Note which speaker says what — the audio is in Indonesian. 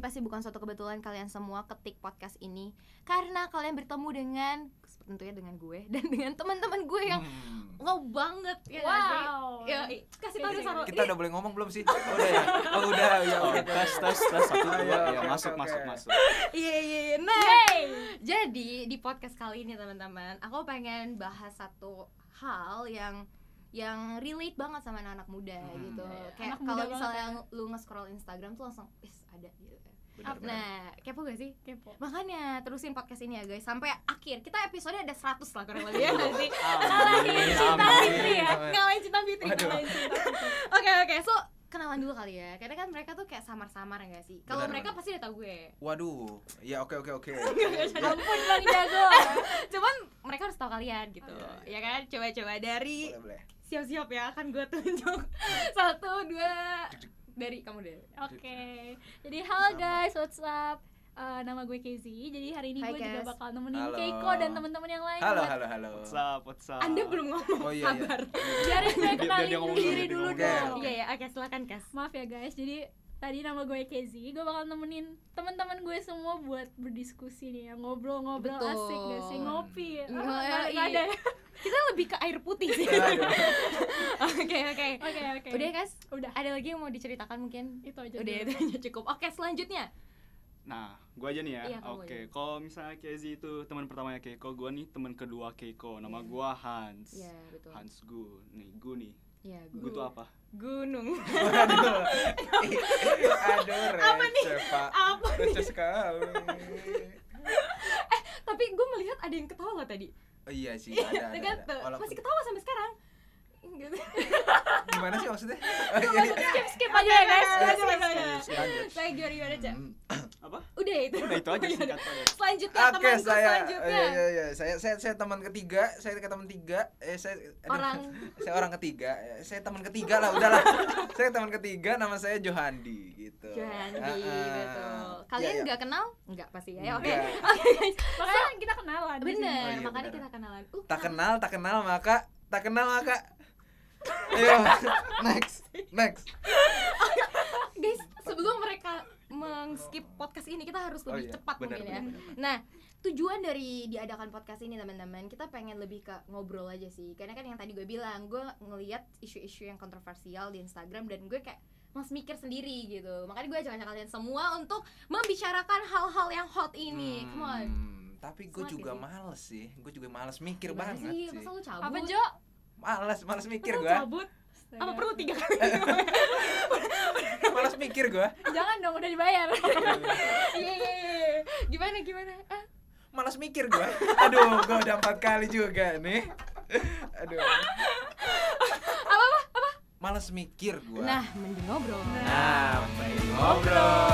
Speaker 1: pasti bukan suatu kebetulan kalian semua ketik podcast ini karena kalian bertemu dengan tentunya dengan gue dan dengan teman-teman gue yang
Speaker 2: Hmm.
Speaker 1: wow banget ya nggak sih?
Speaker 3: Wow.
Speaker 1: Ya,
Speaker 3: Iya,
Speaker 1: i- kasih tau deh
Speaker 4: Hmm.
Speaker 1: Saro.
Speaker 2: Kita udah boleh ngomong belum sih? Udah ya? Oh udah, ya
Speaker 4: Oh,
Speaker 2: udah.
Speaker 4: tes tes tes satu
Speaker 2: Ah,
Speaker 4: dua
Speaker 2: iya,
Speaker 4: ya
Speaker 2: oke,
Speaker 4: masuk
Speaker 2: oke,
Speaker 4: masuk
Speaker 2: oke.
Speaker 4: masuk.
Speaker 1: Iya iya iya. Nah,
Speaker 3: Hey.
Speaker 1: jadi di podcast kali ini teman-teman, aku pengen bahas satu hal yang yang relate banget sama anak-anak muda
Speaker 2: Hmm.
Speaker 1: gitu.
Speaker 3: Iya, iya.
Speaker 1: Kayak
Speaker 3: Anak muda
Speaker 1: kalau
Speaker 3: banget
Speaker 1: misalnya lu nge-scroll Instagram tuh langsung is ada gitu. Nah, kepo gak sih?
Speaker 3: Kepo.
Speaker 1: Makanya terusin podcast ini ya guys sampai akhir. Kita episode ada 100 lah kurang lebih ya nggak sih?
Speaker 3: Ngalahin
Speaker 2: Iya,
Speaker 3: cinta
Speaker 2: amin.
Speaker 3: Fitri ya.
Speaker 2: Amin.
Speaker 3: Ngalahin cinta Fitri.
Speaker 2: Waduh.
Speaker 3: Ngalahin cinta Fitri.
Speaker 1: Oke oke, so kenalan dulu kali ya. Karena kan mereka tuh kayak samar-samar enggak sih? Kalau
Speaker 2: Benar,
Speaker 1: mereka
Speaker 2: benar.
Speaker 1: pasti udah tau gue.
Speaker 2: Waduh, ya oke oke oke.
Speaker 3: Ampun bang jago.
Speaker 1: Cuman mereka harus tahu kalian gitu.
Speaker 2: Oke.
Speaker 1: Ya kan? Coba-coba dari
Speaker 2: Boleh boleh.
Speaker 1: siap-siap ya akan gue tunjuk satu dua dari kamu deh
Speaker 2: Eh,
Speaker 3: Oke. Jadi halo
Speaker 2: Sama.
Speaker 3: guys, what's up? Eh, nama gue Kezi. Jadi hari ini
Speaker 1: Hai,
Speaker 3: gue juga
Speaker 1: guys.
Speaker 3: bakal nemenin
Speaker 2: Halo.
Speaker 3: Keiko dan teman-teman yang lain.
Speaker 2: Halo
Speaker 3: buat-
Speaker 2: halo halo.
Speaker 4: What's up what's up?
Speaker 1: anda belum ngomong
Speaker 2: Oh iya iya.
Speaker 1: kabar
Speaker 3: Biarin gue
Speaker 4: Biar dia
Speaker 3: kenalin
Speaker 4: ngomong dulu,
Speaker 3: diri
Speaker 4: dia
Speaker 3: dulu
Speaker 4: ngomong
Speaker 2: dulu.
Speaker 3: dong.
Speaker 2: Oke,
Speaker 1: iya ya oke silakan kas
Speaker 3: Maaf ya guys, jadi tadi nama gue Kezi, gue bakal nemenin teman-teman gue semua buat berdiskusi nih ya ngobrol-ngobrol
Speaker 1: Betul.
Speaker 3: asik gak sih ngopi ya
Speaker 1: Nggak,
Speaker 3: nggak- nggak
Speaker 1: iya.
Speaker 3: ada ya.
Speaker 1: kita lebih ke air putih sih
Speaker 2: Aduh.
Speaker 1: oke oke
Speaker 3: oke oke
Speaker 1: udah ya, kas
Speaker 3: udah
Speaker 1: ada lagi yang mau diceritakan mungkin
Speaker 3: itu aja
Speaker 1: udah ya? itu
Speaker 3: dulu.
Speaker 1: aja cukup oke selanjutnya
Speaker 4: Nah, gua aja nih ya.
Speaker 1: Iya, kamu
Speaker 4: Oke,
Speaker 1: aja.
Speaker 4: kalau misalnya Kezi itu teman pertamanya Keiko, gua nih teman kedua Keiko. Nama gua Hans.
Speaker 1: Iya, betul.
Speaker 4: Hans Gu. Nih, Gu nih.
Speaker 1: ya
Speaker 4: Gu tuh apa?
Speaker 1: gunung
Speaker 2: Aduh. Aduh, receh, Pak.
Speaker 1: apa
Speaker 2: Receh sekali.
Speaker 1: tapi gue melihat ada yang ketawa tadi
Speaker 2: Oh, iya sih, ada, ada,
Speaker 1: Tegat
Speaker 2: ada.
Speaker 1: tuh.
Speaker 2: Walaupun- Iya,
Speaker 1: masih ketawa sampai sekarang Gitu.
Speaker 2: Gimana sih maksudnya?
Speaker 1: skip skip aja ya guys
Speaker 2: Oke,
Speaker 1: skip skip aja
Speaker 2: oke, oke, iya. lanjut.
Speaker 1: kayak gimana gimana Ca?
Speaker 2: Hmm.
Speaker 4: Apa?
Speaker 1: udah itu
Speaker 4: Udah itu
Speaker 1: iya.
Speaker 4: aja singkat banget.
Speaker 1: selanjutnya
Speaker 2: Oke,
Speaker 1: Iya, temanku
Speaker 2: saya oh,
Speaker 1: selanjutnya
Speaker 2: iya, iya, iya. saya saya saya teman ketiga, saya ke teman tiga, eh saya aduh.
Speaker 1: Orang.
Speaker 2: saya orang ketiga, ya, saya teman ketiga lah udahlah. saya teman ketiga nama saya Johandi gitu.
Speaker 1: Johandi, betul. Kalian nggak kenal? Nggak pasti ya. Oke.
Speaker 2: iya, Nggak.
Speaker 1: Oke guys.
Speaker 3: makanya kita kenalan di sini.
Speaker 1: Bener,
Speaker 2: Oh, iya,
Speaker 1: makanya
Speaker 2: bener.
Speaker 1: kita kenalan. Uh,
Speaker 2: Tak kenal, tak kenal maka tak kenal maka. Ayo, next, next.
Speaker 1: Guys, sebelum mereka mengskip podcast ini kita harus
Speaker 2: Oh,
Speaker 1: lebih
Speaker 2: iya.
Speaker 1: cepat
Speaker 4: Benar,
Speaker 1: mungkin ya.
Speaker 4: benar,
Speaker 1: Nah, tujuan dari diadakan podcast ini teman-teman, kita pengen lebih ke ngobrol aja sih. Karena kan yang tadi gue bilang, gue ngelihat isu-isu yang kontroversial di Instagram dan gue kayak mas mikir sendiri gitu. Makanya gue ajak-ajak kalian semua untuk membicarakan hal-hal yang hot ini. Come on.
Speaker 2: Hmm, tapi gue
Speaker 1: Smart
Speaker 2: juga
Speaker 1: sih.
Speaker 2: males sih, gue juga males mikir
Speaker 1: Gimana
Speaker 2: banget
Speaker 1: sih?
Speaker 2: sih.
Speaker 1: Masa lu cabut?
Speaker 3: apa Jo
Speaker 2: Males, males mikir
Speaker 3: Masa
Speaker 2: gue,
Speaker 3: cabut
Speaker 1: Apa
Speaker 3: Astaga.
Speaker 1: perlu tiga kali?
Speaker 2: males mikir gue,
Speaker 3: jangan dong udah dibayar
Speaker 1: Iya, iya, iya. Gimana gimana? Ah,
Speaker 2: males mikir gue. Aduh, gue udah empat kali juga nih. Aduh. Apa apa apa? Males mikir gue.
Speaker 1: Nah, mending ngobrol.
Speaker 2: Nah, mending ngobrol.